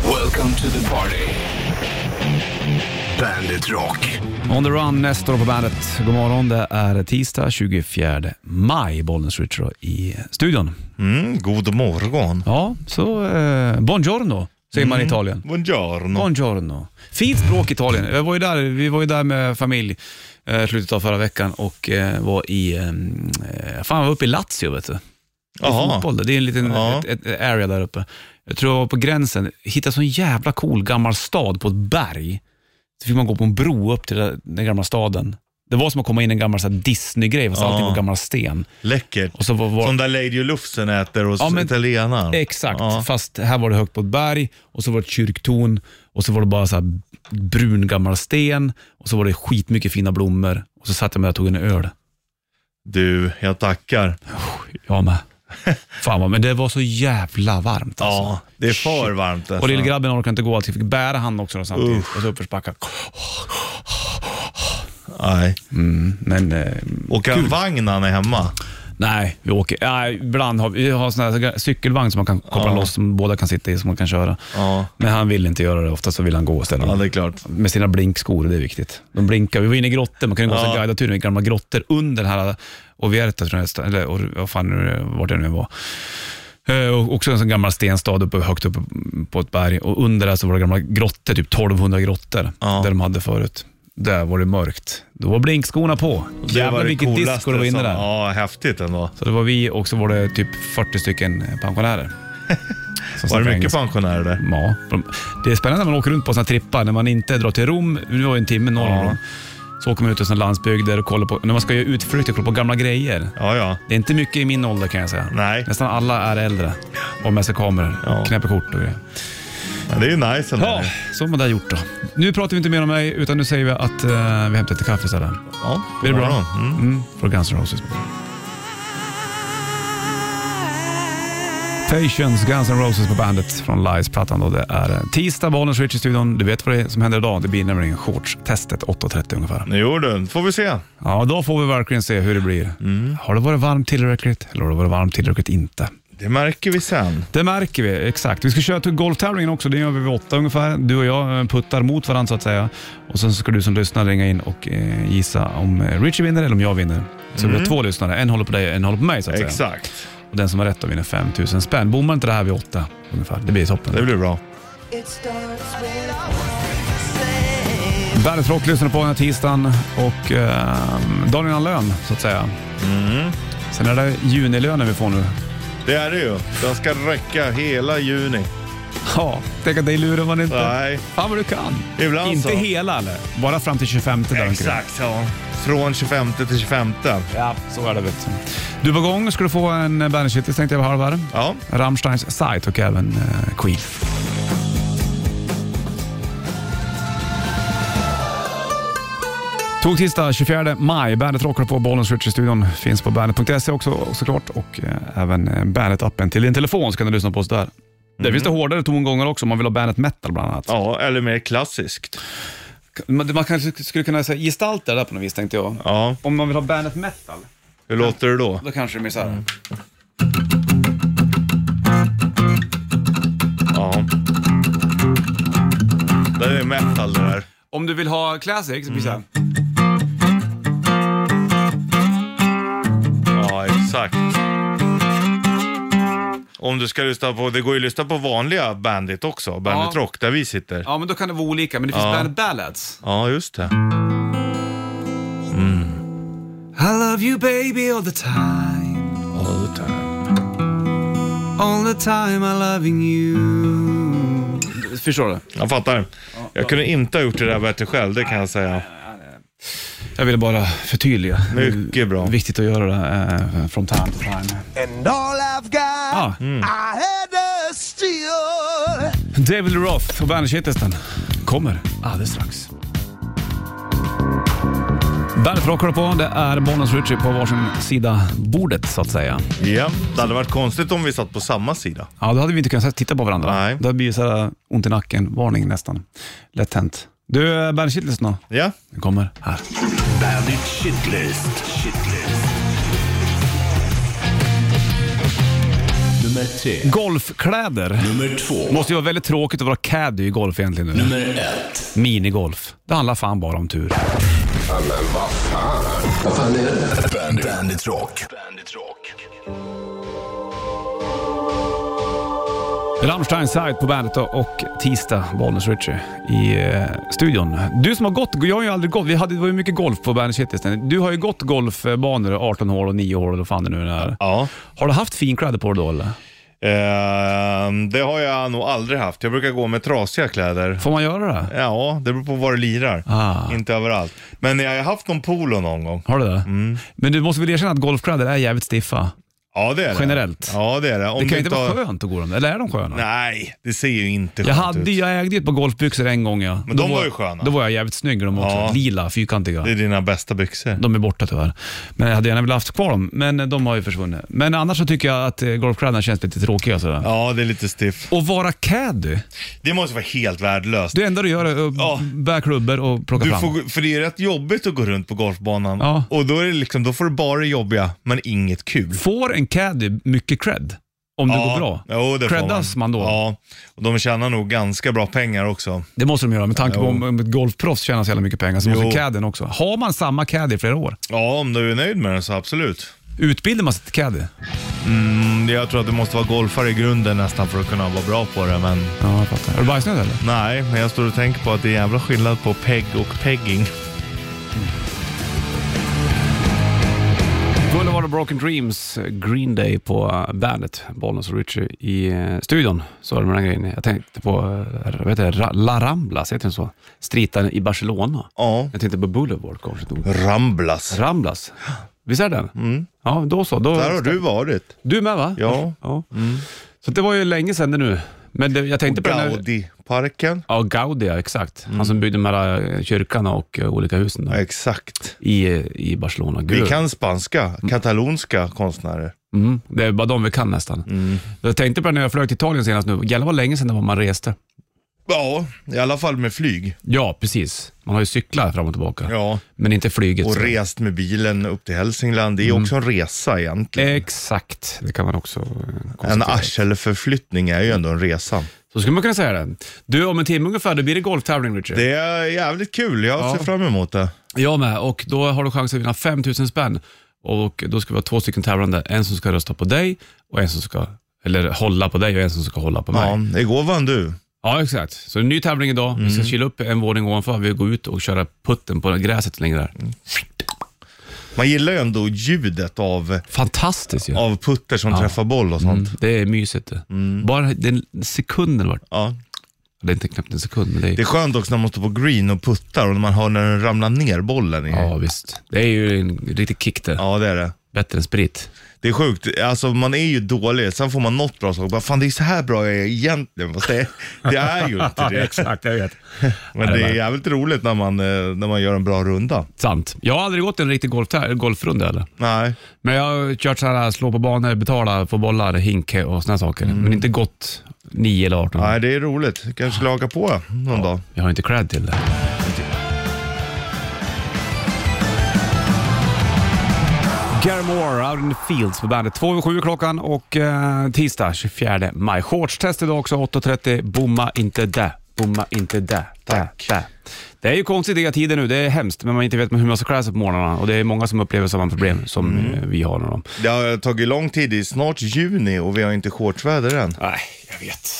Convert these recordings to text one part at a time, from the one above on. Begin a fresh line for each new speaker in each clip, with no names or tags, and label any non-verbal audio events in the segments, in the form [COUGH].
Welcome to the party. Bandit Rock.
On the Run, Nestor på bandet. God morgon, det är tisdag 24 maj. Bollnäs Ritcher i studion.
Mm, god morgon.
Ja, så eh, buongiorno säger
Mm.
man i Italien.
Buongiorno.
Buongiorno. Fint språk i Italien. Jag var ju där, vi var ju där med familj eh, slutet av förra veckan och eh, var i, eh, fan jag var uppe i Lazio vet du. Det är
Jaha.
fotboll där. Det är en liten
Ja.
ett, ett, ett area där uppe. Jag tror jag var på gränsen. Hittade sån jävla cool gammal stad på ett berg. Så fick man gå på en bro upp till den- den gamla staden. Det var som att komma in i en gammal så här Disney-grej, fast
Ja.
allting var gammal sten.
Läckert.
Och så var, var,
Som där Lady Lufsen äter hos
Ja, men-
italienaren.
Exakt,
Ja.
fast här var det högt på ett berg och så var det ett kyrktorn och så var det bara så här brun gammal sten och så var det skitmycket fina blommor och så satt jag med och tog en öl.
Du, jag tackar.
Jag
[LAUGHS]
med. Fan vad, men det var så jävla varmt alltså.
Ja, det är för varmt
Och
alltså.
lillgrabben orkade inte gå, alltså jag fick bära han också då samtidigt.
Usch.
Och så uppförsbackar.
Nej.
Mm, men eh,
Åka en vagn när han är hemma.
nej, vi åker. Nej, ibland har vi vi har sån här cykelvagn som man kan koppla
Ja.
loss, som båda kan sitta i, som man kan köra.
Ja.
Men han vill inte göra det, ofta så vill han gå istället.
Ja, det är klart.
med sina blinkskor, det är viktigt. De blinkar. Vi var inne i grottor, man kan ju gå ja.
Ja.
guidad tur med gamla grottor under den här Ovierta, tror jag, sta- eller Or- vad fan nu det- vart det nu var. Eh, Och också en sån gammal stenstad uppe, högt uppe på ett berg och under där så var det gamla grottor, typ 1200 grottor,
Ja.
där de hade förut. Där var det mörkt. Då var blinkskorna på.
Det var
Jävlar
det
vilket
coolaste
disco det var inne
som-
där.
Ja, häftigt ändå.
Så det var vi och så var det typ 40 stycken
[LAUGHS]
pensionärer. Som
Var
snackade
det
engelska.
mycket pensionärer där?
Ja, de- det är spännande när man åker runt på såna här trippar, när man inte drar till Rom, nu var ju en timme norr om
Ja.
Rom, så åker man ut till såna landsbygder och kollar på, när man ska göra utflykter, kolla på gamla grejer.
Ja, ja.
Det är inte mycket i min ålder kan jag säga.
Nej,
Nästan alla är äldre och har med sig kameror,
Ja.
knäpper kort och grejer.
men det är ju nice ändå.
Ja, så har man det gjort då. Nu pratar vi inte mer om mig, utan nu säger vi att eh, vi hämtar lite kaffe istället.
ja.
Är det bra?
Mm.
Mm, från Guns N' Roses. Patience, Guns N' Roses på bandet från Lies-plattan. då. Det är eh, tisdag, Bollnäs Rich i studion. Du vet vad det är som händer idag. Det blir nämligen shortstestet 8.30 ungefär.
Jo du, får vi se.
Ja, då får vi verkligen se hur det blir. Har det varit varmt tillräckligt eller har det varit varmt tillräckligt inte?
Det märker vi sen.
Det märker vi, exakt. Vi ska köra till golftävlingen också, det gör vi vid åtta ungefär. Du och jag eh, puttar mot varandra så att säga. Och sen ska du som lyssnar ringa in och eh, gissa om eh, Richie vinner eller om jag vinner. Så vi har två lyssnare, en håller på dig och en håller på mig så att säga.
Mm. Exakt.
Och den som har rätt då vinner 5 000 spänn. Bommar inte det här vid åtta ungefär, det blir toppen.
Det blir bra.
It starts with the
Bandet Rock lyssnar på den här tisdagen och eh, dagen innan lön så att säga.
Mm.
Sen är det junilönen vi får nu.
Det är det ju. Den ska räcka hela juni.
Ja, tänk att dig lurar man inte.
Nej.
Fan vad du kan.
Ibland
inte
så.
hela eller? Bara fram till 25 där omkring.
Exakt ja. Från 25 till 25.
Ja, så är det. Vet du. du var igång ska du få en bandage tänkte jag var halv här.
Ja.
Rammsteins Sight och även eh, Queen. Tog tisdag 24 maj. Bandet rockar på Bollens Rich i studion. Finns på bandet.se också såklart och eh, även eh, bandet-appen till din telefon så kan du lyssna på oss där. Där finns det hårdare tongångar också om man vill ha bandet metal bland annat.
Ja, eller mer klassiskt.
Man, man kanske skulle kunna säga, gestalta det där på något vis tänkte jag.
Ja,
Om man vill ha bandet metal,
hur låter det då?
då kanske det blir så här.
Ja. Det är metal det där.
Om du vill ha classic, så blir det så här.
Mm. Ja, exakt. Om du ska lyssna på, det går ju att lyssna på vanliga Bandit också, Bandit
Ja.
Rock, där vi sitter.
Ja, men då kan det vara olika, men det finns
Ja.
bandet ballads.
Ja, just det.
I love you baby all the time
All the time.
All the time I loving you Förstår du?
Jag fattar. Jag kunde inte ha gjort det där bättre själv, det kan jag säga.
Jag ville bara förtydliga.
Mycket bra.
Viktigt att göra det eh, från time to time.
And all I've got, Mm.
Ah,
I had to steal.
David Roth och Bandagehitlisten kommer alldeles strax. Bandet rockar på. Det är Bonus Richie på varsin sida bordet så att säga.
Ja, det hade varit konstigt om vi satt på samma sida.
Ja, då hade vi inte kunnat titta på varandra.
Nej.
Det hade blivit så här ont i nacken-varning nästan. Lätt hänt. Du, Bandagehitlisten då?
Ja,
Den kommer här.
Bandit Shitlist. Shitlist.
Du
Nummer tre.
Golfkläder.
Nummer två.
Måste ju vara väldigt tråkigt att vara caddy i golf egentligen nu.
Nummer ett.
Minigolf. Det handlar fan bara om tur.
Bandit. Bandit Rock. Bandit Rock.
Rammstein Sight på bandet och- och tisdag, Bollnäs Ritchie i eh, studion. Du som har gått, jag har ju aldrig gått, vi hade, det var ju mycket golf på bandet Shit istället. Du har ju gått golfbanor, 18 hål och 9 hål eller vad fan det nu är.
Ja.
Har du haft finkläder på dig då eller?
Ehm, det har jag nog aldrig haft. Jag brukar gå med trasiga kläder.
Får man göra det?
Ja, det beror på var du lirar.
Ah.
Inte överallt. Men jag har haft någon polo någon gång.
Har du det?
Mm.
Men du måste väl erkänna att golfkläder är jävligt stiffa?
Ja, det är det.
Generellt.
Ja, det är det. Om
Det
du
kan ju inte
har-
vara skönt att gå dem, eller är de sköna?
Nej, det ser ju inte
Jag,
skönt
hade,
ut.
jag ägde ju ett par golfbyxor en gång ja.
Men
Då
de var ju sköna.
Då var jag jävligt snygg i de också.
Ja.
Lila, fyrkantiga.
Det är dina bästa byxor.
De är borta tyvärr. Men jag hade gärna velat haft kvar dem, men de har ju försvunnit. Men annars så tycker jag att eh, golfkläderna känns lite tråkiga sådär.
Ja, det är lite stiff.
Och vara caddy.
Det måste vara helt värdelöst.
Det enda du gör är att
Ja.
bära klubbor och plocka
Du
fram.
får, för det är rätt jobbigt att gå runt på golfbanan.
Ja.
Och då, är det liksom, då får du bara det jobbiga, men inget kul.
Får en caddy mycket cred? Om det går bra?
Jo, det får
Creddas man. då?
Ja, och de tjänar nog ganska bra pengar också.
Det måste de göra med tanke på
Jo.
om, om ett golfproffs tjänar så jävla mycket pengar så måste
Jo.
caddyn också. Har man samma caddy i flera år?
Ja, om du är nöjd med den så absolut.
Utbildar man sig till caddy?
Mm, Jag tror att du måste vara golfare i grunden nästan för att kunna vara bra på det, men
Ja, jag fattar. Är du bajsnödig eller?
nej. Men jag står och tänker på att det är jävla skillnad på peg och pegging.
Boulevard of Broken Dreams, Green Day på uh, bandet. Bollnäs och Richie i eh, studion. Så är det med den grejen. Jag tänkte på, eh, vad heter det, Ra- La Ramblas, heter den så? Stritan i Barcelona.
Ja.
Jag tänkte på Boulevard kanske. då.
Ramblas.
Ramblas. Visst är det den? Ja, då så. Då,
Mm. Där har du varit.
Du med va?
Ja. Mm.
ja. Så det var ju länge sedan det nu. Men det, jag tänkte på den här-
Gaudi-parken.
Ja, Gaudi, ja, exakt.
Mm.
Han som byggde de här eh, kyrkorna och eh, olika husen där.
Ja, exakt.
I, eh, I Barcelona.
Vi
Gud.
kan spanska, katalonska konstnärer.
Mm, det är bara de vi kan nästan.
Mm.
Jag tänkte på det när jag flög till Italien senast nu. Jävlar vad länge sedan det var man reste.
Ja, i alla fall med flyg.
Ja, precis. Man har ju cyklat fram och tillbaka.
Ja,
Men inte flyget.
och
Så-
rest med bilen upp till Hälsingland. Det är
Mm.
också en resa egentligen.
Eh, Exakt, det kan man också eh, konstatera.
En arselförflyttning är ju ändå en resa.
Så skulle man kunna säga det. Du, om en timme ungefär, då blir det golftävling Richard.
Det är jävligt kul, jag
Ja.
ser fram emot det.
Jag med, och då har du chans att vinna 5 000 spänn. Och då ska vi ha två stycken tävlande. En som ska rösta på dig och en som ska, eller hålla på dig och en som ska hålla på mig.
Ja, igår vann du.
Ja, exakt. Så en ny tävling idag. Vi
Mm.
ska kila upp en våning ovanför. Vi går ut och köra putten på gräset längre där.
Man gillar ju ändå ljudet av,
Fantastiskt ju.
av putter som träffar boll och sånt.
Det är mysigt det. Bara den sekunden vart.
Ja.
Det är inte knappt en sekund, men det är...
Det är skönt också när man står på green och puttar och när man hör när den ramlar ner bollen. I.
Ja, visst. Det är ju en riktig kick det.
ja, det är det.
Bättre än sprit.
Det är sjukt, alltså man är ju dålig, sen får man något bra sak. Bara, Fan det är så här bra jag är egentligen, fast det, det är ju inte det.
[LAUGHS] jag vet.
Men det är jävligt roligt när man, eh, när man gör en bra runda.
Sant. Jag har aldrig gått en riktig golf golfrunda eller.
Nej,
Men jag har kört så här, slå på banor, betala, få bollar, hink och såna saker. Men inte gått 9 eller 18.
Nej det är roligt. Kanske skulle haka på någon dag.
Jag har inte cred till det. Gary Moore, Out in the Fields på bandet. Två över sju klockan och eh, tisdag 24 maj. Shortstest idag också 8.30. Bomma inte där. Bomma inte där. Tack. Där, där. Det är ju konstigt i tider nu. Det är hemskt, men man inte vet hur man ska klä sig på morgnarna. Och det är många som upplever samma problem som eh, vi har. Med dem.
Det har tagit lång tid, det är snart juni och vi har inte shortsväder än.
Nej, jag vet.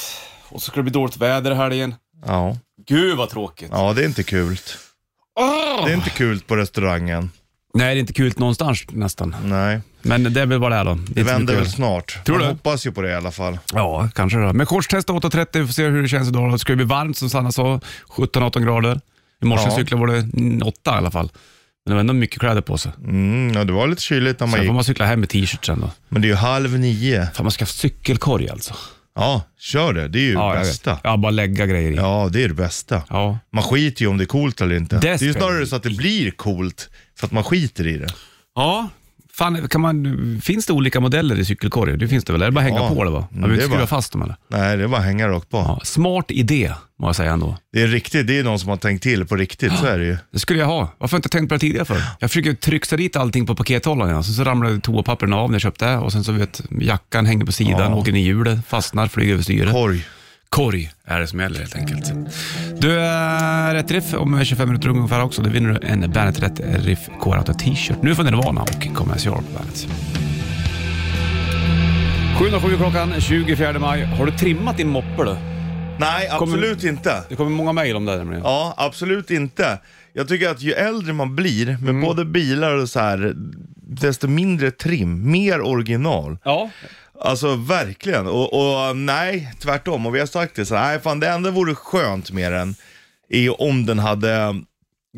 Och så ska det bli dåligt väder i helgen.
Ja,
Gud vad tråkigt.
ja det är inte kul. Det är inte kul på restaurangen.
Nej, det är inte kul någonstans nästan.
Nej,
Men det är väl vad det är då. är
det
inte så
vänder
mycket
väl
att-
snart.
Tror
Man
du?
hoppas ju på det i alla fall.
Ja, kanske det. Men shortstesta 8.30, vi får se hur det känns idag. Det ska ju bli varmt som Sanna sa, 17-18 grader. I morse
Ja.
cyklade var det 8 i alla fall. Men det var ändå mycket kläder på sig.
Mm, ja, det var lite kyligt när man
Sen
gick.
får man cykla hem med t-shirt sen då.
Men det är ju halv nio.
Fan, man ska ha cykelkorg alltså.
Ja, kör det. Det är ju det
jag
bästa.
vet. Ja, bara lägga grejer i. Ja.
Ja, det är det bästa. Man skiter ju om det är coolt eller inte.
Det
Det, är ju
spelar
snarare så att det blir coolt för att man skiter i det.
Ja, Fan, kan man, finns det olika modeller i cykelkorg? Det finns det väl? Är det bara att hänga
Ja.
på det va? Man
Mm,
behöver
det
inte
är
skruva
bara-
fast dem eller?
Nej, det är bara att hänga rakt på.
Ja, smart idé, må jag säga ändå.
Det är riktigt, det är någon som har tänkt till på riktigt, så är det ju.
Det skulle jag ha. Varför har jag inte tänkt på det tidigare för? Jag försöker trycksa dit allting på pakethållaren. Alltså, så ramlade toapapperna av när jag köpte och sen så vet jackan hänger på sidan,
Ja.
åker ner i hjulet, fastnar, flyger över styret.
Korg.
Korg är det som gäller helt enkelt. Du, äh, rätt riff om 25 minuter ungefär också. Då vinner du en Bandet Rätt Riff K-Rauta T-shirt. Nu får Nirvana och Commercial på Bandet. 7.07 klockan 24 maj. Har du trimmat din moppe du?
Nej,
Kommer-
absolut inte.
Det kommer många mejl om det här nämligen.
Ja, absolut inte. Jag tycker att ju äldre man blir med
Mm.
både bilar och så här, desto mindre trim, mer original.
Ja.
Alltså verkligen. Och, och nej, tvärtom. Och vi har sagt det så här, nej fan det enda vore skönt med den är om den hade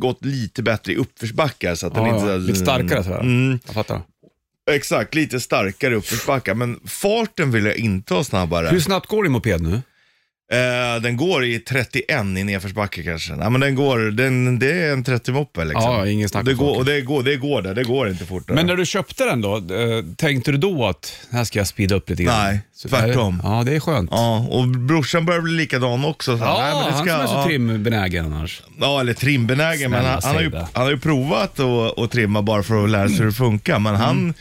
gått lite bättre i uppförsbackar så att den
Ja,
inte...
ja. Lite starkare sådär.
Mm,
Jag fattar.
exakt, lite starkare uppförsbackar. Men farten vill jag inte ha snabbare.
Hur snabbt går din moped nu?
Eh, den går i 31 i nedförsbacke kanske. Nej men den går, den, det är en 30-moppe liksom.
Ja, ingen snack om
det går,
saken.
och det går, det går där, det går inte fortare.
Men när du köpte den då, eh, tänkte du då att här ska jag speeda upp lite grann?
Nej,
Så-
tvärtom.
Ja, det är skönt.
Ja, och brorsan börjar bli likadan också. Så
Ja,
nej, men det
han som är så
ja,
trimbenägen annars.
ja, eller trimbenägen, men
Snälla,
han, han, har ju,
säg det.
han har ju provat att, att trimma bara för att lära sig hur det funkar. Men
Mm.
han,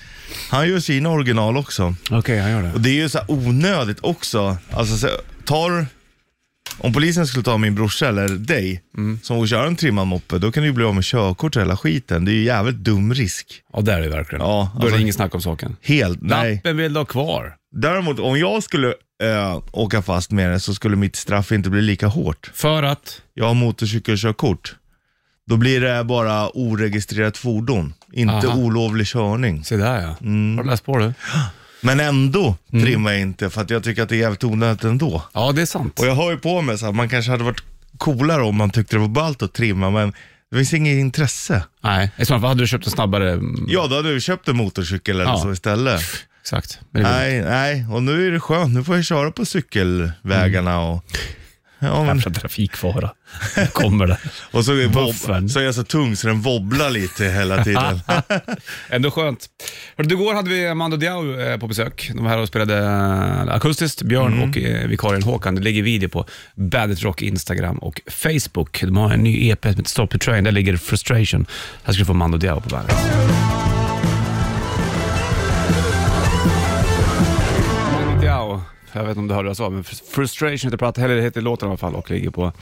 han gör sina original också.
Okej, han gör
Och det är ju så här onödigt också. Alltså, så, tar, om polisen skulle ta min brorsa eller dig
Mm.
som får köra en trimmad moppe, då kan du ju bli av med körkort och hela skiten. Det är ju jävligt dum risk.
Ja, det är det verkligen.
Ja,
Då är
alltså-
det inget snack om saken.
Helt, nej.
Lappen vill du ha kvar.
Däremot om jag skulle eh, åka fast med det så skulle mitt straff inte bli lika hårt.
För att?
Jag har motorcykelkörkort. Då blir det bara oregistrerat fordon, inte
Aha.
olovlig körning.
Se där ja.
Mm.
Har du läst på det?
Men ändå trimmar jag inte för att jag tycker att det är jävligt onödigt ändå.
Ja, det är sant.
Och jag har ju på mig så att man kanske hade varit coolare om man tyckte det var ballt att trimma, men det finns inget intresse.
Nej, i så fall hade du köpt en snabbare... mm,
Ja, då hade du köpt en motorcykel eller
Ja.
så istället.
Exakt. Men det är väl-
Nej, nej, och nu är det skönt. Nu får jag köra på cykelvägarna och... Mm. Ja, men,
Jävla trafikfara. Nu kommer
[LAUGHS]
det.
och så, är
Buffen.
vob- så är jag så tung så den wobblar lite
[LAUGHS]
hela tiden.
Ändå skönt. Hörru, du, igår hade vi Amanda Diao eh, på besök. De var här och spelade eh, akustiskt, Björn och eh, vikarien Håkan. Det ligger video på Bandit Rock Instagram och Facebook. De har en ny EP som heter Stop the Train. Där ligger Frustration. Här ska du få Amanda Diao på bandet. Amanda Diao. Jag vet inte om du hörde vad jag sa, men Frustration heter, platt, eller heter låten i alla fall och ligger på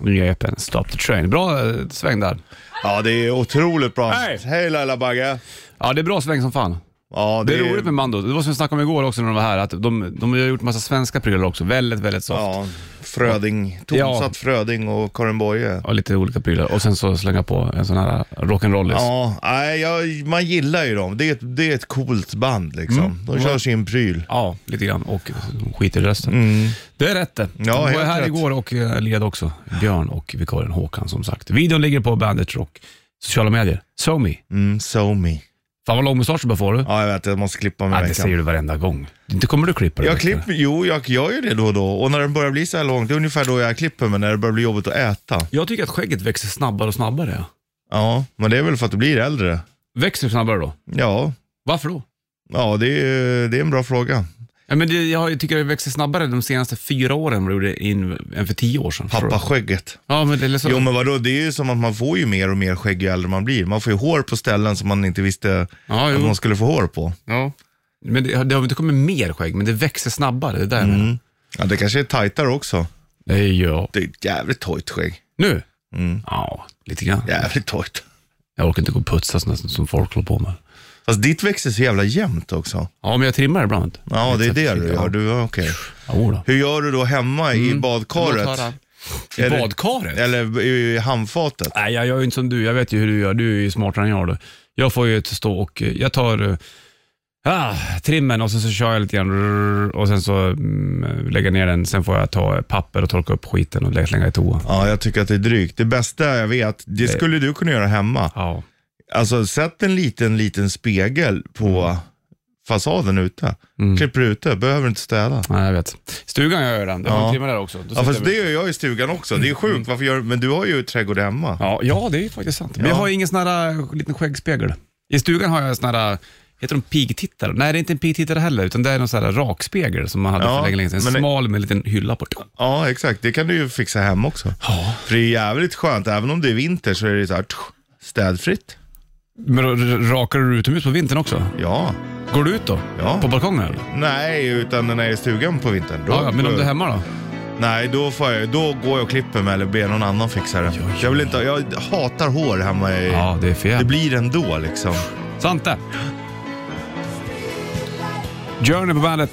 nya EPn Stop the Train. Bra eh, sväng där.
Ja, det är otroligt bra.
Hej!
Hej Laila Bagge.
Ja, det är bra sväng som fan.
Ja,
Det är roligt med Mando. Det var som vi snackade om igår också när de var här, att de, de har gjort massa svenska prylar också. Väldigt, väldigt soft. Ja.
Ja, Fröding,
Ja.
Tonsatt Fröding och Karin Boye.
lite olika prylar. Och sen så slänga på en sån här rock'n'rollis.
Ja, nej, jag, man gillar ju dem. Det är ett, det är ett coolt band liksom.
Mm.
De kör sin pryl.
Ja, lite grann. Och skit i resten. Det är rätt det.
Mm. Ja,
de var
helt
här
rätt.
igår och eh, led också. Björn och vikarien Håkan som sagt. Videon ligger på Bandit Rock. Sociala medier. So me.
Mm, so me.
Fan vad lång mustasch du börjar få du.
Ja, jag vet, jag måste klippa mig
Ja,
i
det
veckan.
säger du varenda gång. Inte kommer du klippa det.
Jag
vet du.
klipper, jo, jag gör ju det då och då. Och när den börjar bli så här lång, det är ungefär då jag klipper mig, när det börjar bli jobbigt att äta.
Jag tycker att skägget växer snabbare och snabbare. ja.
Ja, men det är väl för att du blir äldre.
Växer snabbare då?
Ja,
Varför då?
ja det, är, det är en bra fråga.
Ja, men det, jag tycker det växer snabbare de senaste fyra åren än vad det gjorde in, än för tio år sedan. Förstår du?
Pappaskägget.
Ja, men det är så.
Jo men vadå, det är ju som att man får ju mer och mer skägg ju äldre man blir. Man får ju hår på ställen som man inte visste
ja,
att
jo.
man skulle få hår på.
ja. Men det, det har inte kommit mer skägg, men det växer snabbare. Det är där mm.
Ja, det kanske är tajtare också.
Nej, ja.
Det är ett jävligt tajt skägg.
Nu?
Mm.
Ja, lite grann.
Jävligt tajt.
Jag orkar inte gå och putsa sånt som folk håller på med.
Fast ditt växer så jävla jämnt också.
Ja, men jag trimmar ibland.
Ja, det är det du gör. Du, ja, okej.
Jo då.
Hur gör du då hemma i
Mm.
badkaret?
I
Är det-
badkaret?
Eller i handfatet?
Nej, jag gör ju inte som du. Jag vet ju hur du gör. Du är ju smartare än jag. Då. Jag får ju ett stå och eh, jag tar eh, ah, trimmen och sen så kör jag lite grann rrrr, och sen så mm, lägger jag ner den. Sen får jag ta eh, papper och torka upp skiten och lä- slänga i toa.
Ja, jag tycker att det är drygt. Det bästa jag vet, det skulle du kunna göra hemma.
Ja.
Alltså sätt en liten, liten spegel på
Mm.
fasaden ute. Klipper ute, behöver inte städa.
Nej, jag vet. Stugan gör jag redan. Jag
Ja.
ja. trimmar där också. Då
Ja,
sitter Mm.
fast
jag-
det gör jag i stugan också. Det är sjukt, varför gör Men du har ju trädgård hemma.
ja, ja, det är ju faktiskt sant. Men jag
Ja.
har ingen sån här eh, liten skäggspegel. I stugan har jag sån här eh, Heter de pigtittare? Nej, det är inte en pigtittare heller, utan det är någon sån här rakspegel som man hade
Ja,
för länge, länge sedan.
men det-
Smal med en liten hylla på.
Ja, exakt. Det kan du ju fixa hem också.
Ja.
För det är jävligt skönt. Även om det är vinter så är det så här tsch, städfritt.
Men då r- rakar du utomhus på vintern också?
Ja.
Går du ut då?
Ja.
På balkongen eller?
Nej, utan när jag är i stugan på vintern. Då,
Ja, ja, men om du är hemma då?
Nej, då, får jag, då går jag och klipper mig eller ber någon annan fixa det.
oj.
Jag, vill inte, jag hatar hår hemma i...
Ja, det är
Det
fel.
blir ändå liksom.
Sant det. Journey på bandet.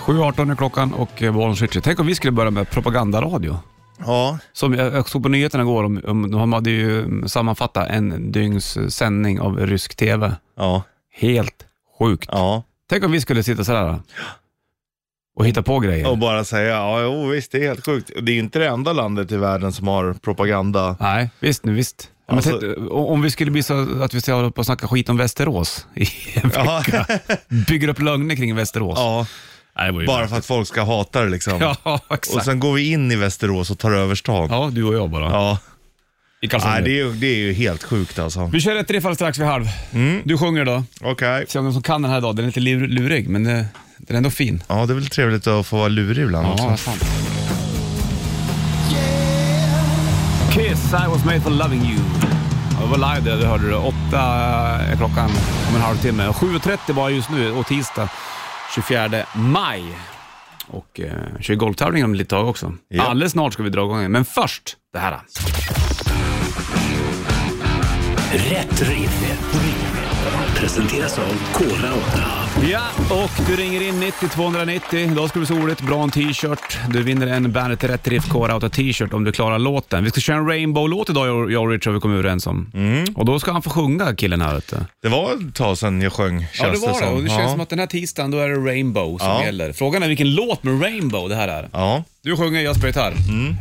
7.18 är klockan och eh, Bollnäs Ritchie. Tänk om vi skulle börja med propagandaradio.
Ja,
Som jag, jag såg på nyheterna igår, om, om, de hade ju mm, sammanfattat en dygns sändning av rysk TV.
ja,
Helt sjukt.
ja.
Tänk om vi skulle sitta sådär då, och hitta på grejer.
Och bara säga, ja jo, visst det är helt sjukt. Det är ju inte det enda landet i världen som har propaganda.
Nej, visst nu, visst. Ja, men
Alltså-
tänk, o- om vi skulle bli så att vi ska hålla på och snacka skit om Västerås i [LAUGHS] en
[LAUGHS] Ja.
vecka. Bygger upp lögner kring Västerås.
Ja,
Nej, det var ju
bara för att folk ska hata det liksom.
Ja, [LAUGHS]
Och
exakt.
sen går vi in i Västerås och tar över stan. Ja.
Ja, du och jag bara. I
Nej,
kalsonger.
det är, ju, det är ju helt sjukt alltså.
Vi kör ett riff alldeles strax vid halv.
Mm.
Du sjunger då.
Okej.
Se om någon som kan den här idag. Den är lite lur- lurig, men eh, den är ändå fin.
Ja, det är väl trevligt att få vara lurig ibland
Ja,
också.
sant. Kiss, I was made for loving you. Ja, Det var live där, det hörde du. Åtta är klockan om en halvtimme. Och 7.30 bara just nu och tisdag 24 maj. Och eh, kör golftävling om lite tag också.
Ja.
Alldeles snart ska vi dra igång. Men först det här.
Rätt riff. Presenteras av Kora 8.
Ja, och du ringer in 90 290. Idag ska vi så roligt. Bra en t-shirt. Du vinner en Bandet Rätt Riff Core Outta t-shirt om du klarar låten. Vi ska köra en Rainbow-låt idag, jag- jag och Richard, vi kommer överens om. Och då ska han få sjunga, killen här ute.
Det var ett tag sedan jag sjöng, känns som. ja.
att den här tisdagen, då är det Rainbow som
Ja.
gäller. Frågan är vilken låt med Rainbow det här är.
Ja.
Du sjunger, jag spelar gitarr.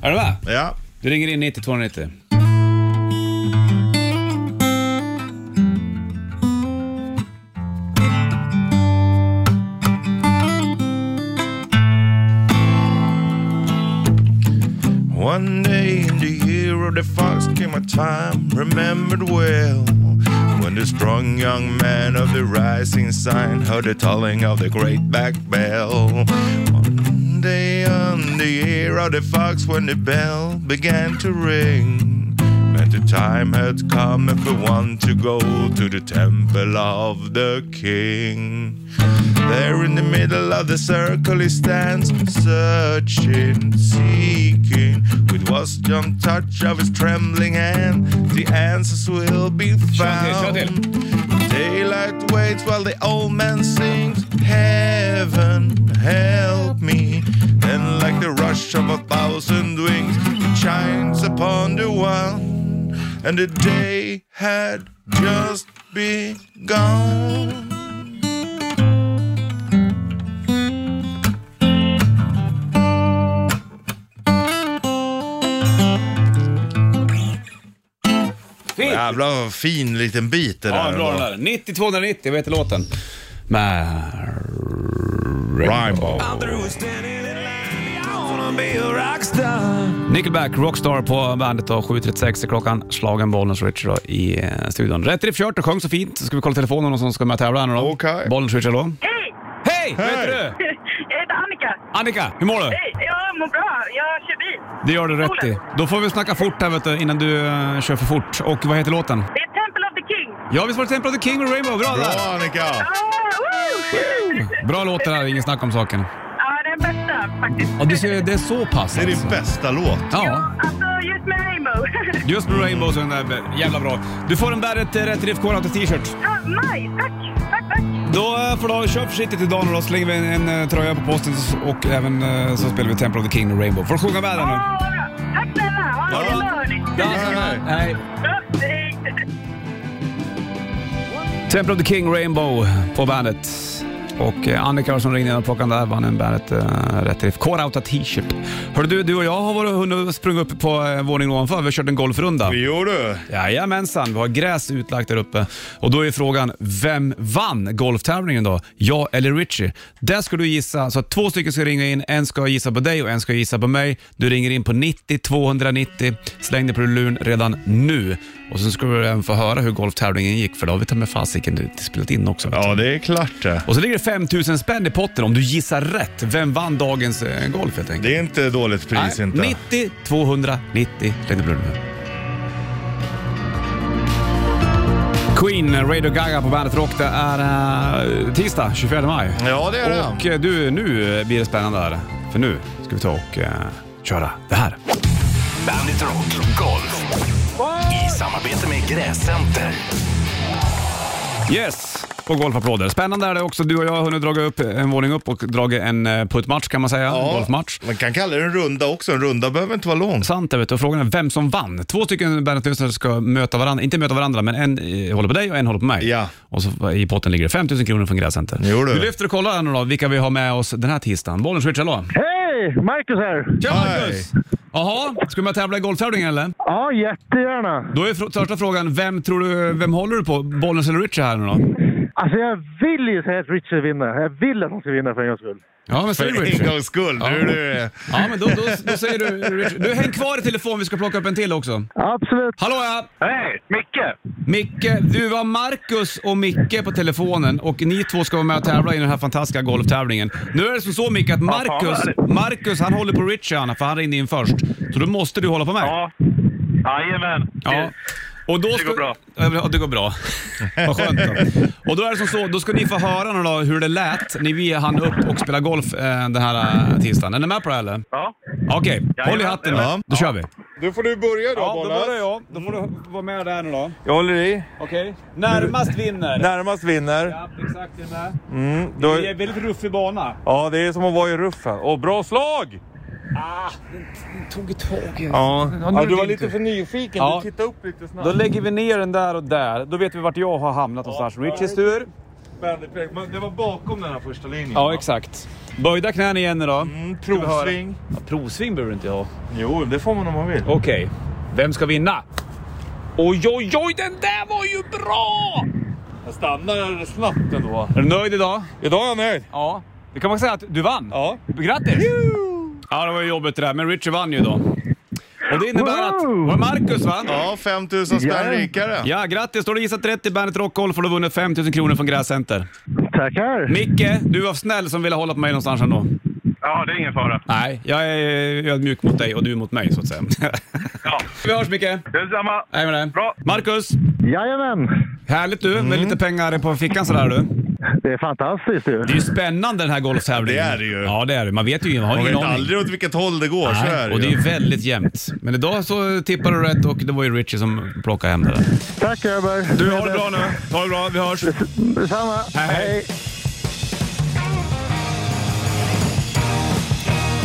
Är du med?
ja.
Du ringer in 90 290.
One day in the year of the fox came a time remembered well when the strong young man of the rising sign heard the tolling of the great back bell. One day on the year of the fox when the bell began to ring. And the time had come for one to go to the temple of the king. There in the middle of the circle he stands, searching, seeking. With what's young touch of his trembling hand, the answers will be
Kör
found.
till, kör till.
Daylight waits while the old man sings, Heaven, help me. Then, like the rush of a thousand wings, it shines upon the one, and the day had just begun.
Fint!
Jävlar vad fin liten bit det
Ja,
där.
bra den där. 90 290, vad heter låten? Med
Rainbow.
Nickelback, Rockstar på bandet. då. 7.36 är klockan. Slagen Bollnäs Richard då i eh, studion. Rätt riff kört och sjöng så fint. Ska vi kolla telefonen om någon som ska med och tävla här nu då?
Okej.
Bollnäs Richard då.
Hej! [LAUGHS]
Hej! Vad heter
Hej.
du?
Jag heter Annika.
Annika, hur mår du?
Hej! Jag mår bra. Jag kör bil.
Det gör du rätt i. Då får vi snacka fort här vet du, innan du eh, kör för fort. Och vad heter låten?
Det är Temple of the King.
Ja, visst var det Temple of the King och Rainbow? Bra
Bra
där!
Annika!
Ah, woo!
Bra låt det där, ingen snack om saken.
Ja, den bästa faktiskt.
Ja, du ser, det är så pass
Det är
alltså.
din bästa låt.
Ja.
Alltså, just med Rainbow. [LAUGHS]
Just med Rainbow så är den där jävla bra. Du får en Bäret eh, Rätt Riff Core t-shirt.
Ja, Maj, tack. Tack, tack.
Då eh, får du ha- köp försiktigt idag nu då. Slänger vi en, en eh, tröja på posten och även eh, så spelar vi Temple of the King och Rainbow. Får du sjunga med den nu?
Ah, vad bra. tack snälla. Ha det
Ja.
bra, hörni.
Ja,
hej.
hej.
Ja, hej.
Temple of the King Rainbow på bandet. Och eh, Annika som ringde in och plockade den där vann en Bandet eh, Rätt Riff Core Outta T-shirt. Hörru du, du och jag har varit och hunnit sprungit upp på eh, våningen ovanför. Vi har kört en golfrunda.
Jo du.
Jajamensan, vi har gräs utlagt där uppe. Och då är frågan, vem vann golftävlingen då? Jag eller Richie? Där ska du gissa, så att två stycken ska ringa in. En ska gissa på dig och en ska gissa på mig. Du ringer in på 90 290. Släng dig på luren redan nu. Och sen ska du även få höra hur golftävlingen gick, för då har vi ta med fasiken spelat in också. vet du.
Ja, det är klart det.
Och så ligger det 5000 spänn i potten om du gissar rätt. Vem vann dagens eh, golf helt enkelt?
Det är inte dåligt pris
Nej,
inte.
90 290 Lady Blue nu. Queen, Radio Gaga på Bandet Rock. Det är eh, tisdag 24 maj.
Ja, det är det.
Och eh, du, nu eh, blir det spännande här. För nu ska vi ta och eh, köra det här.
Bandit Rock Golf. I samarbete med Gräscenter.
Yes! På golfapplåder. Spännande är det också. Du och jag har hunnit dra upp en våning upp och dragit en eh, puttmatch kan man säga. En golfmatch.
Man kan kalla det en runda också. En runda behöver inte vara lång.
Sant det, vet du. Och Frågan är vem som vann. Två stycken Bandet-lyssnare ska möta varandra, inte möta varandra, men en eh, håller på dig och en håller på mig.
Ja.
Och så i potten ligger det 5 000 kronor från Gräscenter.
Jo, du.
Vi lyfter och kollar här nu då, vilka vi har med oss den här tisdagen. Bollen switch, hallå?
Hej! Marcus här.
Tja
Marcus!
Jaha, ska vi med och tävla i golftävlingen eller?
Ja, jättegärna.
Då är fr- första frågan, vem tror du, vem håller du på? Bollen eller Richard här nu då?
Alltså jag vill ju säga att Richard vinner. Jag vill att han ska vinna för en gångs skull.
Ja, men säg
För en
Richard.
gångs skull.
Ja.
Du, du.
Ja, men då, då, då säger du Richard. Du, häng kvar i telefon, vi ska plocka upp en till också.
Absolut.
Hallå ja!
Hej! Micke!
Micke, du var Marcus och Micke på telefonen och ni två ska vara med och tävla i den här fantastiska golftävlingen. Nu är det som så Micke att Marcus, Marcus han håller på Richard för han ringde in först. Så då måste du hålla på mig.
Ja. Jajamän.
Ja. Och då
Det går bra.
Ja, det går
[LAUGHS]
bra. Vad skönt då. Och då är det som så, då ska ni få höra nu då hur det lät när vi hann upp och spela golf eh, den här eh, tisdagen. Är ni med på det här, eller?
Ja.
Okej, håll i hatten nu.
Ja.
Då kör vi.
du får du börja då,
jag. Då får du vara med där nu då.
Jag håller i.
Okej. Närmast vinner.
Närmast vinner.
Ja, exakt. Det är
Mm, då,
en väldigt ruffig bana.
ja, det är som att vara i ruffen. Och bra slag!
Ah,
Ja.
Ja, du var lite för nyfiken.
Ja.
Du tittade upp lite
Då
snabbt.
lägger vi ner den där och där. Då vet vi vart jag har hamnat någonstans. Richies tur.
Men det var bakom den här första linjen.
Ja, exakt. Böjda knän igen idag.
Mm,
vi höra?
provsving.
Provsving behöver inte jag ha.
Jo, det får man om man vill.
Okej, vem ska vinna? Oj, oj, oj, den där var ju bra!
Jag stannar snabbt ändå.
Är du nöjd idag?
Idag är jag nöjd.
Ja. Det kan man säga att du vann.
Ja.
Grattis! Ja, det var ju jobbigt det där, men Richard vann ju då. Och det innebär att... Var det Marcus va?
Ja, 5000 spänn rikare.
Ja, grattis! Då har du gissat rätt i Bandet Rockgolf och du har vunnit 5 000 kronor från Gräscenter.
Tackar!
Micke, du var snäll som ville hålla på mig någonstans ändå.
Ja, det är ingen fara.
Nej, jag är ödmjuk mot dig och du mot mig så att säga.
[LAUGHS] Ja.
Vi hörs Micke!
Det är samma.
Hej med dig!
Bra.
Marcus!
Jajamän!
Härligt du, med lite pengar på fickan sådär du.
Det är fantastiskt ju.
Det är ju spännande den här golftävlingen.
Det är det ju.
Ja, det är det. Man vet ju man har
Man
ingen
vet
aning.
aldrig åt vilket håll det går. Så är
Nej, och det är
ju.
ju väldigt jämnt. Men idag så tippade du rätt och det var ju Richie som plockade hem det där.
Tack grabbar!
Du, har det bra nu. Ha det bra, vi hörs.
Detsamma!
Hej, hej.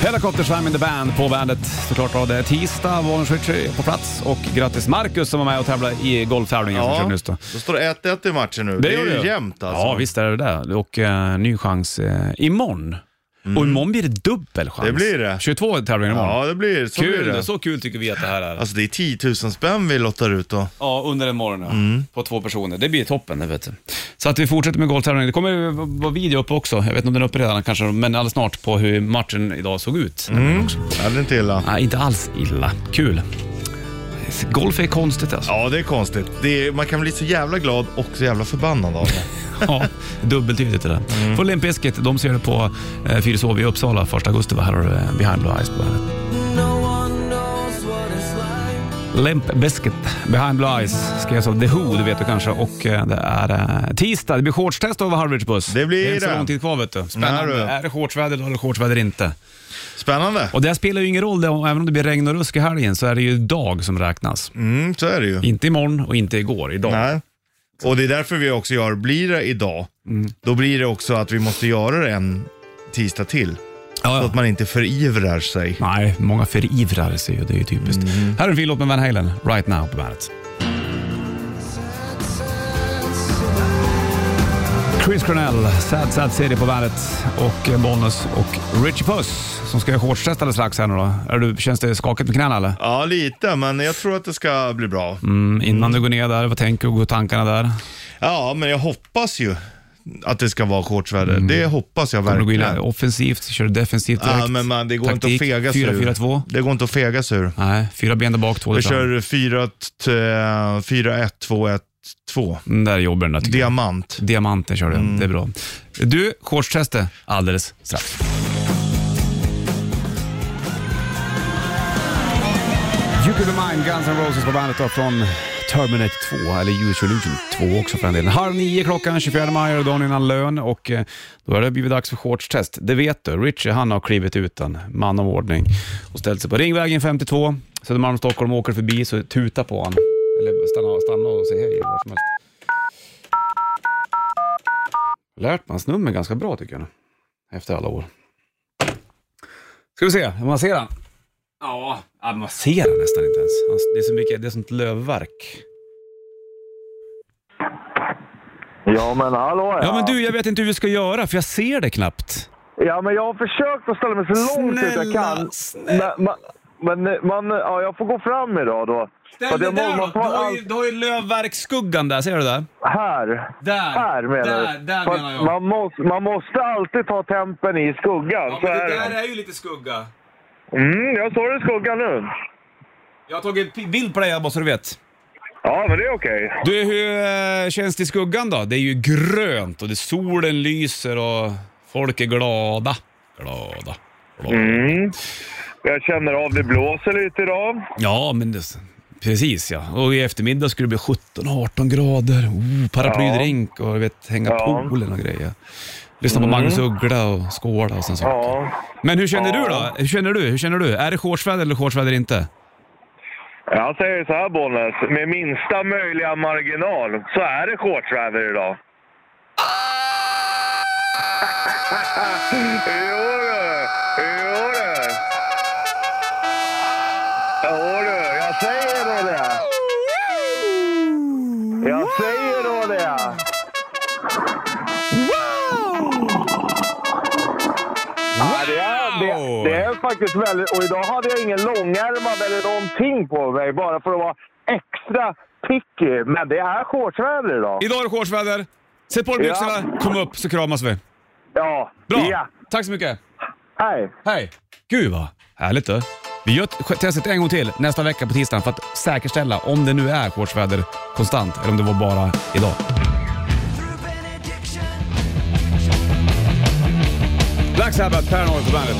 Helicoptersvärm in the band på bandet. Såklart då. Det är tisdag, Valens Richie är på plats och grattis Marcus som var med och tävlade i golftävlingen som
Ja.
körde nyss då.
Då står det 1-1 i matchen nu. Det
gör
är ju jämnt alltså.
Ja, visst är det det. Och eh, ny chans eh, imorgon. Och imorgon blir det dubbel chans.
Mm. Det blir det.
22 tävlingar imorgon.
Ja, det blir så.
Kul,
blir det.
så kul tycker vi att det här är.
Alltså det är 10 000 spänn vi lottar ut då.
Ja, under en morgon ja.
Mm.
På två personer. Det blir toppen, det vet du. Så att vi fortsätter med golftävlingen. Det kommer ju vara video uppe också. Jag vet inte om den är uppe redan kanske, men alldeles snart på hur matchen idag såg ut.
Mm. Ja, det är inte illa.
Nej, inte alls illa. Kul. Golf är konstigt alltså.
Ja, det är konstigt. Det är, man kan bli så jävla glad och så jävla förbannad av det.
[LAUGHS] Ja, Mm. dubbeltydigt det där. För Limp Bizkit, de ser det på eh, Fyrishov i Uppsala 1 augusti. Här har du eh, Behind Blue Eyes på bandet. Limp Bizkit, Behind Blue Eyes, skrevs av The Who, det vet du kanske. Och eh, det är eh, tisdag, det blir shortstest över Harvids buss.
Det blir
det. är inte så
det.
lång tid kvar vet du. Spännande.
Nej, du.
Är det shortsväder eller shortsväder inte?
[LAUGHS] Spännande.
Och det här spelar ju ingen roll, det, om- även om det blir regn och rusk i helgen så är det ju dag som räknas.
Mm, så är det ju.
Inte imorgon och inte igår, idag.
Nej. Och det är därför vi också gör, blir det idag, då blir det också att vi måste göra det en tisdag till.
Ja,
Så
ja.
att man inte förivrar sig.
Nej, många förivrar sig ju. Det är ju typiskt.
Mm.
Här är en fin låt med Van Halen, Right Now på bandet. Chris Cornell, Sad Sad City på bandet och eh, Bollnäs och Richie Puss som ska göra shortstest alldeles strax här nu då. Är du, känns det skakigt med knäna eller?
Ja, lite, men jag tror att det ska bli bra.
Mm, innan du går ner där, vad tänker du? Går tankarna där?
Ja, men jag hoppas ju att det ska vara shortsväder. Det hoppas jag
Kommer du gå in
verkligen.
offensivt? Kör du defensivt direkt?
Ja, men man, det går
Taktik,
inte att fega sig ur.
4-4-2?
Det går inte att fega sig ur.
Nej, fyra ben där bak, två där
Vi
fram.
kör 4, t- eh, 4, 1, 2, 1, 2.
Den Mm, där är jobbig den där tycker jag.
Diamant.
Diamanten kör du, det är bra. Du, shortstestet alldeles strax. You could be mine, Guns N' Roses på bandet då från Terminator 2, eller Usual Illusion 2 också för den delen. Halv nio klockan 24 maj och dagen innan lön och eh, då har det blivit dags för shortstest. Det vet du, Richie han har klivit ut en man av ordning och ställt sig på Ringvägen 52, Södermalm, Stockholm, åker förbi så tuta på han. Eller stanna, stanna och säg hej, vad som helst lärt mig hans nummer ganska bra tycker jag nu. Efter alla år. Ska vi se, man ser han. Ja, ja, man ser han nästan inte ens. Han- Det är så mycket, det är sånt lövverk.
Ja, men hallå
Ja men du, jag vet inte hur vi ska göra för jag ser det knappt.
Ja, men jag har försökt att ställa mig så långt ut jag
Snälla,
kan.
snälla.
Men, man, men man, ja, jag får gå fram idag då. För
Ställ
att
dig där
jag må-
då.
måste
Du
vara
har ju,
allt-
du har ju lövverksskuggan där, ser du det?
Här.
Där.
Här menar
där,
du?
där
För
menar
att
jag.
Man måste, man måste alltid ta tempen i skuggan.
Ja,
så
men det
är det.
där är ju lite skugga.
Mm, jag står i skuggan nu.
Jag har tagit en bild på dig här, bara så du vet.
Ja, men det är okej.
Du, hur eh, känns det i skuggan då? Det är ju grönt och det, solen lyser och folk är glada. Glada. glada.
Jag känner av, det blåser lite idag.
Ja, men det, precis ja. Och i eftermiddag skulle det bli 17-18 grader. Oh, paraplydrink och du vet, hänga
Ja. Mm.
poolen och grejer. Lyssna på Magnus Uggla och skåla och sånt saker.
Ja.
Men hur känner du då? Hur känner du? Hur känner du? Är det shortsväder eller shortsväder inte?
Jag säger så här, Bollnäs. Med minsta möjliga marginal så är det shortsväder idag. [LAUGHS] jo, du. jo du. Jo du, jag säger då det. Jag säger då det. Ja, det, är, det, det är faktiskt väldigt... Och idag hade jag ingen långärmad eller någonting på mig bara för att vara extra picky. Men det är shortsväder idag.
Idag är det shortsväder. Sätt på dig
Ja.
byxorna, kom upp så kramas vi.
Ja.
Bra!
Ja.
Tack så mycket.
Hej.
Hej! Gud vad härligt du. Vi gör ett- testet en gång till nästa vecka på tisdagen för att säkerställa om det nu är shortsväder konstant eller om det var bara idag. Black Sabbath, Paranoid på bandet.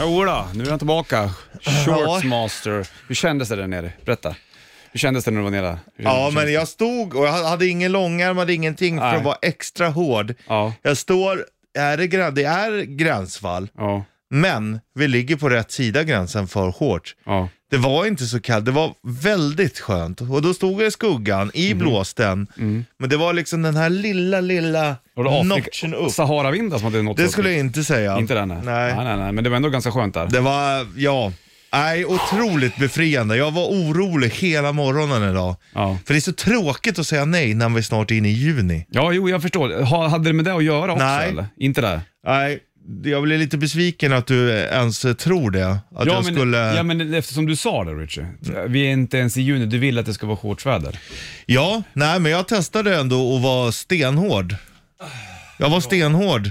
Jodå, nu är han tillbaka. Shortsmaster. Hur kändes det där nere? Berätta. Hur kändes det när du var nere? där? Hur
Ja,
kändes
men
det?
jag stod och jag hade ingen långärmad, ingenting för
Nej.
att vara extra hård.
Ja.
Jag står, är det, grä- det är gränsfall,
Ja,
men vi ligger på rätt sida gränsen för shorts.
ja.
Det var inte så kallt, det var väldigt skönt. Och då stod jag i skuggan, i
Mhm.
blåsten, men det var liksom den här lilla, lilla
Mm. Var det Afrika-
notchen upp.
Saharavindar som hade nått
Det
upp?
skulle jag inte säga.
Inte den?
Nej.
nej, nej, nej. Men det var ändå ganska skönt där.
Det var, ja. Nej, otroligt befriande. Jag var orolig hela morgonen idag.
Ja.
För det är så tråkigt att säga nej när vi snart är inne i juni.
Ja, jo, jag förstår. Ha, hade det med det att göra också?
Nej.
Eller? Inte det?
Nej, jag blev lite besviken att du ens tror det. Att
ja,
jag
men,
skulle...
ja, men eftersom du sa det, Richie. Vi är inte ens i juni. Du vill att det ska vara shortsväder.
Ja, nej men jag testade ändå att vara stenhård. Jag var stenhård.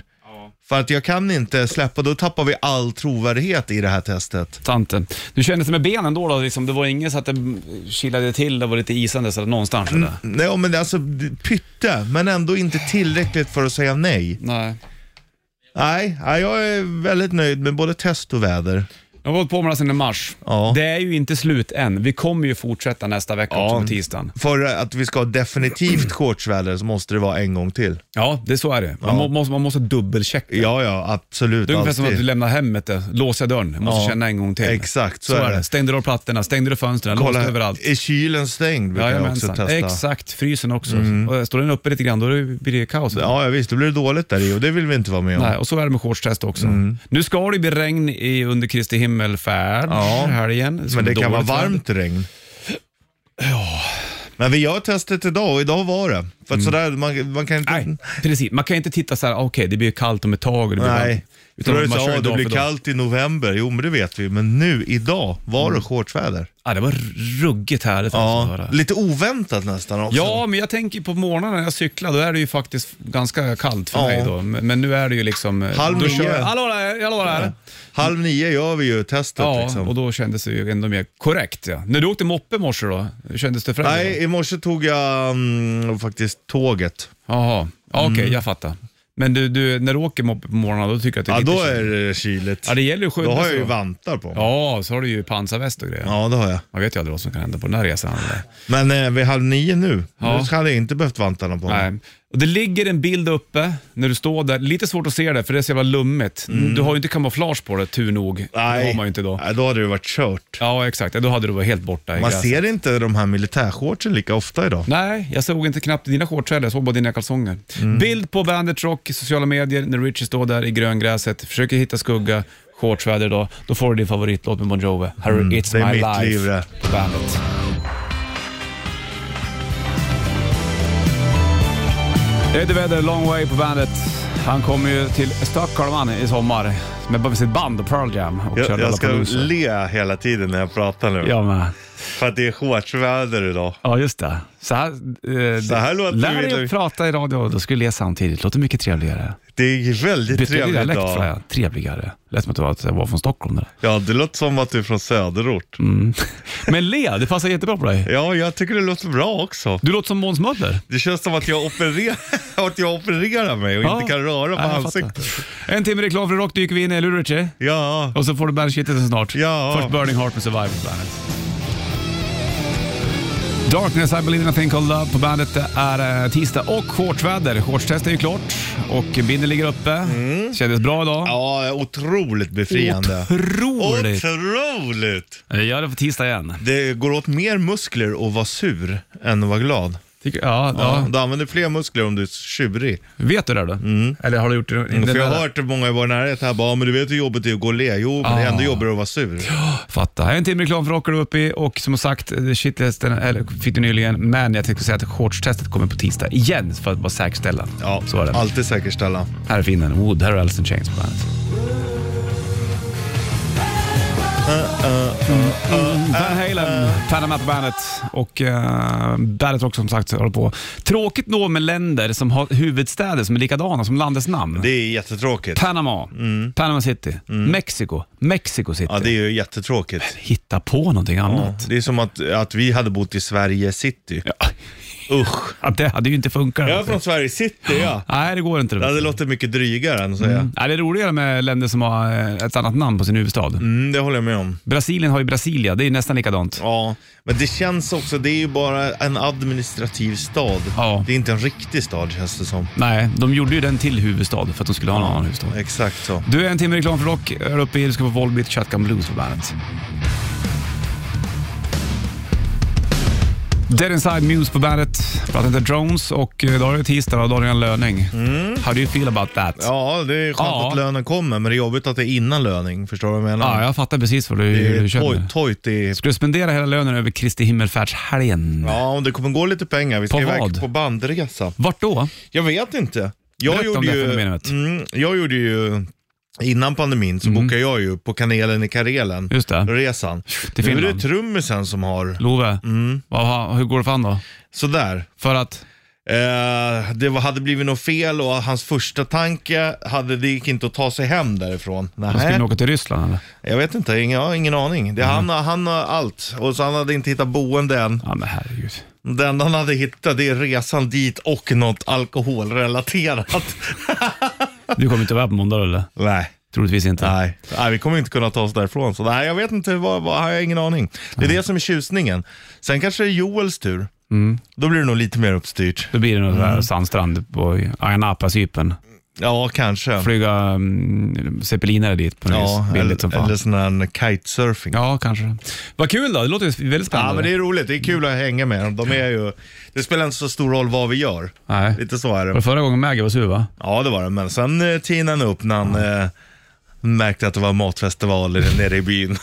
För att jag kan inte släppa, då tappar vi all trovärdighet i det här testet.
Tante. Du kändes det med benen då? då liksom, det var inget så att det mm, kilade till, det var lite isandes eller någonstans? Eller?
Nej men alltså pytte, men ändå inte tillräckligt för att säga nej.
Nej.
Nej, nej, jag är väldigt nöjd med både test och väder.
Jag har hållit på med det här sedan i mars.
Ja.
Det är ju inte slut än. Vi kommer ju fortsätta nästa vecka också på tisdagen.
För att vi ska
[CLEARS THROAT]
ha definitivt shortsväder så måste det vara en gång till.
Ja, det så är det. Man, må, måste, man måste dubbelchecka.
Ja, ja, absolut.
Det är ungefär som att
alltid.
du lämnar hemmet, eh, låser jag dörren, Jag måste
Ja.
känna en gång till.
Exakt, så är det.
Stängde du av plattorna, stängde du fönstren, låste
Kolla,
överallt.
är kylen stängd? Brukar jag också
Jajamensan,
testa. Mm.
exakt. Frysen också. Och eh, Står den uppe lite grann, då är det- blir det kaos.
Ja, ja, visst, då blir det dåligt där i och det vill vi inte vara med om.
Nej, och så är det med shortstest också.
Mm.
Nu ska det ju bli regn i, under Kristi himmelfärd
Ja.
helgen. ska
Men
bli
det kan vara
dåligt väder.
varmt regn. Men vi gör testet idag och idag var det. För att sådär, man, man kan inte...
Mm. Nej, precis. Man kan ju inte titta så här, "Ah, okej, det blir kallt om ett tag. Och det blir
Nej.
varmt.
Utan
Utan
det,
man
så,
kör
ja,
ju
det
dag
blir
för dag.
kallt i november, jo men det vet vi. Men nu, idag, var
Mm.
det shortsväder.
Ja, det var ruggigt härligt alltså, att
Ja,
höra.
lite oväntat nästan också.
Ja, men jag tänker på morgonen när jag cyklar, då är det ju faktiskt ganska kallt för
Ja.
mig då. Men men nu är det ju liksom...
Halv
då
nio.
kör- Hallå där, hallå där.
Halv nio gör vi ju testet
Ja,
liksom.
och då kändes det ju ändå mer korrekt. Ja. När du åkte moppe i morse då, kändes det främst?
Nej, i morse tog jag mm, faktiskt tåget.
Jaha, ja, okej,
Mm.
jag fattar. Men du, du, när du åker moppe på morgonen, då tycker jag att det är
Ja,
lite
då
kyligt.
är det kyligt.
Ja, det gäller ju att skydda
Då har
sig
jag ju
då.
vantar på mig.
Ja, så har du ju pansarväst och grejer.
Ja, det har jag.
Man vet ju aldrig vad som kan hända på den här resan. eller?
Men eh, vid halv nio nu,
Ja.
nu hade jag inte behövt vantarna på mig.
Nej. Och det ligger en bild uppe när du står där. Lite svårt att se det för det är så jävla lummigt. Du har ju inte kamouflage på det, tur nog. Det har man ju inte då.
Mm. Nej, då hade det varit kört.
Ja, exakt. Ja, Då hade du varit helt borta i
Man
gräset.
ser inte de här militärshortsen lika ofta idag.
Nej, jag såg inte knappt dina shorts heller. Jag såg bara dina kalsonger.
Mm.
Bild på Bandit Rock i sociala medier när Richie står där i gröngräset, försöker hitta skugga, shortsväder idag. Då får du din favoritlåt med Bon Jovi. Harry, It's
Mm. det är
My
mitt
Life
liv det.
på Bandit. Eddie Vedder, Long Way på Bandit. Han kommer ju till Stockholm han, i sommar med sitt band Pearl Jam och kör
Jag, jag ska
Lollapalooza.
le hela tiden när jag pratar nu.
Jag med.
För att det är shortsväder idag.
Ja, just det. Så här, eh,
Så här låter
lär
det.
dig att prata i radio, då skulle jag le samtidigt. Låter mycket trevligare.
Det är väldigt
Bytte du
trevligt
dialekt? sa
idag.
jag. Trevligare. Lät som att det var- att jag var från Stockholm. Där.
Ja, det låter som att du är från söderort.
Men le, det passar jättebra på dig.
Ja, jag tycker det låter bra också.
Du låter som Måns Möller.
Det känns som att jag opererar, [LAUGHS] att jag opererar mig och inte kan röra på
Nej, jag
ansiktet.
fattar. En timme reklam för rock dyker vi in i, eller hur Richie?
Ja,
Och så får du bandshittet snart.
Ja.
Först Burning Heart med Survivor på bandet. Darkness, I believe in a thing called love på bandet. Det är eh, tisdag och shortsväder. Shortstest är ju klart och binden ligger uppe. Kändes bra idag.
Mm. ja otroligt befriande.
Otroligt!
Otroligt!
Vi gör det på tisdag igen.
Det går åt mer muskler att vara sur än att vara glad.
Tycker, ja,
Ja.
ja.
Du använder fler muskler om du är tjurig.
Vet du det då? Eller Mm, har du gjort det? den
För jag
där-
har hört många i vår närhet här bara, "Ja, men du vet hur jobbigt det är att gå och le. Jo, men det är
Ah.
ändå jobbigare att vara sur.
Fatta. Här är En timme reklam för Rocker du upp i och som sagt, eh, shittesten eller, fick du nyligen, men jag tänkte säga att shortstestet kommer på tisdag igen för att bara säkerställa.
Ja,
så är det.
alltid säkerställa.
Här är finnen, Wood, här är Alice in Chains på bandet. Eh, Van Halen, Panama på bandet och uh, bandet också som sagt håller på. Tråkigt nog med länder som har huvudstäder som är likadana som landets namn.
Det är jättetråkigt.
Panama, Panama City, Mexiko, Mexico City.
Mm. Ja, det är ju jättetråkigt.
Hitta på någonting annat.
Det är som att, att vi hade bott i Sverige city. Usch.
Ja, det hade ju inte funkat.
Jag är från Sverige city, ja.
Nej, det går inte.
Det
Det.
hade låtit mycket drygare än att säga.
Nej, det är roligare med länder som har eh, ett annat namn på sin huvudstad.
Mm, det håller jag med om.
Brasilien har ju Brasilia, det är ju nästan likadant.
Ja, men det känns också, det är ju bara en administrativ stad.
Ja.
Det är inte en riktig stad känns det som.
Nej, de gjorde ju den till huvudstad för att de skulle ha en annan huvudstad.
Exakt så.
Du är en timme reklam för rock, är uppe i, du ska få Volbeat Shotgun Blues på bandet. Dead Inside Muse på bandet. Pratar inte Drones och eh, då är det tisdag och då har du en löning. How do you feel about that?
Mm. Ja, det är skönt
Ja.
att lönen kommer, men det är jobbigt att det är innan löning. Förstår du vad jag menar?
Ja, jag fattar precis vad du,
Det
hur
är
du känner.
toj- tojt i...
Ska du spendera hela lönen över Kristi himmelfärdshelgen?
Ja, om det kommer gå lite pengar. Vi ska
På
iväg
vad?
på bandresa.
Vart då?
Jag vet inte. Jag
Berätta om
gjorde
det här
ju...
fenomenet. Mm.
Mm, jag gjorde ju... Innan pandemin så bokade jag ju på Kanelen i Karelen.
Just det.
Resan.
Till
Nu är det
Finland.
trummisen som har...
Love,
Mm.
vad har- hur går det för han då?
Sådär.
För att...
Eh, det var, hade blivit något fel och hans första tanke hade, det gick inte att ta sig hem därifrån.
Han skulle Mm.
Nej,
ni åka till Ryssland eller?
jag vet inte, ingen, jag har ingen aning. Det, han, han har allt och så han hade inte hittat boende än.
Ja men herregud.
Det enda han hade hittat det är resan dit och något alkoholrelaterat. [LAUGHS]
Du kommer inte vara här på måndag eller?
nej.
Troligtvis inte.
Nej. nej, vi kommer inte kunna ta oss därifrån. Så nej, jag vet inte, vad, vad, jag har ingen aning. Det är det som är tjusningen. Sen kanske det är Joels tur.
Mm.
Då blir det nog lite mer uppstyrt.
Då blir det någon sån
Mm.
här sandstrand på Ayia Napa, Cypern.
Ja, kanske.
Flyga mm, zeppelinare dit på något
Ja,
vis. Billigt som
eller,
fan.
eller sån här kitesurfing.
Ja, kanske. Vad kul då. Det låter ju väldigt
Ja,
spännande.
men det är roligt. Det är kul att hänga med dem. De är ju, det spelar inte så stor roll vad vi gör.
Nej.
Lite så är
Var det
det.
förra gången Maggie var sur va?
Ja, det var det. Men sen eh, tinade han upp när han eh, märkte att det
[LAUGHS]
var matfestivaler nere i byn.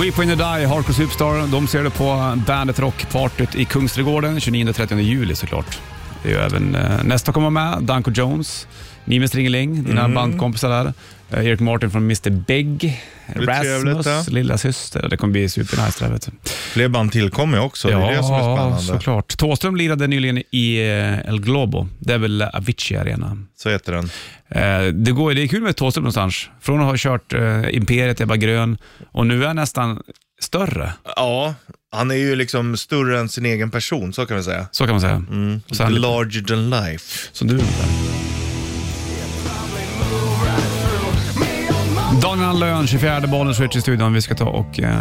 Weep When You Die, Hardcore Superstar, de ser du på Bandet Rock-partyt i Kungsträdgården 29-30 juli såklart. Det är ju även eh, nästa kommer med, Danko Jones, Nimes Ringeling, dina
Mhm.
bandkompisar där. Eh, Erik Martin från Mr. Big,
trevligt, ja.
Rasmus, lilla syster. Det kommer bli supernice det här vet du.
Fler band tillkommer ju också. det är det som är spännande.
såklart. Thåström lirade nyligen i eh, El Globo. Det är väl Avicii Arena.
Så heter den.
Eh, det, går, det är kul med Thåström någonstans. Från att ha kört eh, Imperiet, Ebba Grön och nu är han nästan större.
Ja, han är ju liksom större än sin egen person, så kan vi säga.
Så kan man säga. Mm. Så han,
Larger than life.
som du. Daniel Lön, 24 bollen switch i studion. Vi ska ta och eh,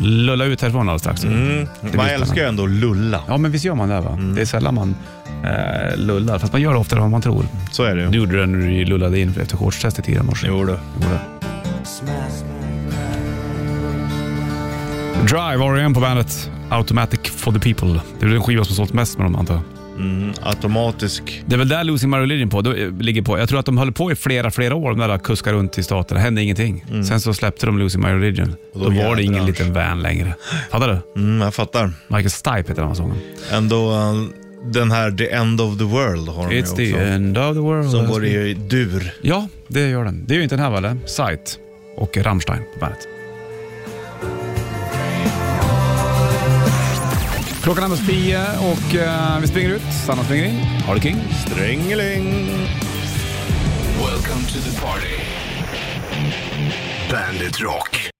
lulla ut härifrån alldeles strax.
Mm. Man älskar ju ändå lulla.
Ja, men visst gör man det va? Det är sällan man eh, lullar, fast man gör det oftare än vad man tror.
Så är det
Du
ju.
gjorde det när du lullade in efter shortstestet tidigare i morse.
Jo du.
Drive, R.E.M. på bandet. Automatic for the people. Det är väl den skiva som sålt mest med dem antar jag.
Mm. Automatisk.
Det är väl där Losing My Religion på, då, eh, ligger på. Jag tror att de höll på i flera, flera år, de där kuskar runt i staten. Det hände ingenting. Sen så släppte de Losing My Religion.
Mm. Och
då
då
var det ingen
jädrars.
liten van längre. Fattar du?
Mm, jag fattar.
Michael Stipe heter den här sången.
Ändå eh, den här The End of the World har de ju
It's
också.
the end of the world.
Som går i dur.
Ja, det gör den. Det är ju inte den här va? eller? Sight och Rammstein på bandet. Klockan är närmast tio och eh, vi springer ut. Sanna springer in. Ha det king.
Drängeling.
Welcome to the party. Bandit Rock.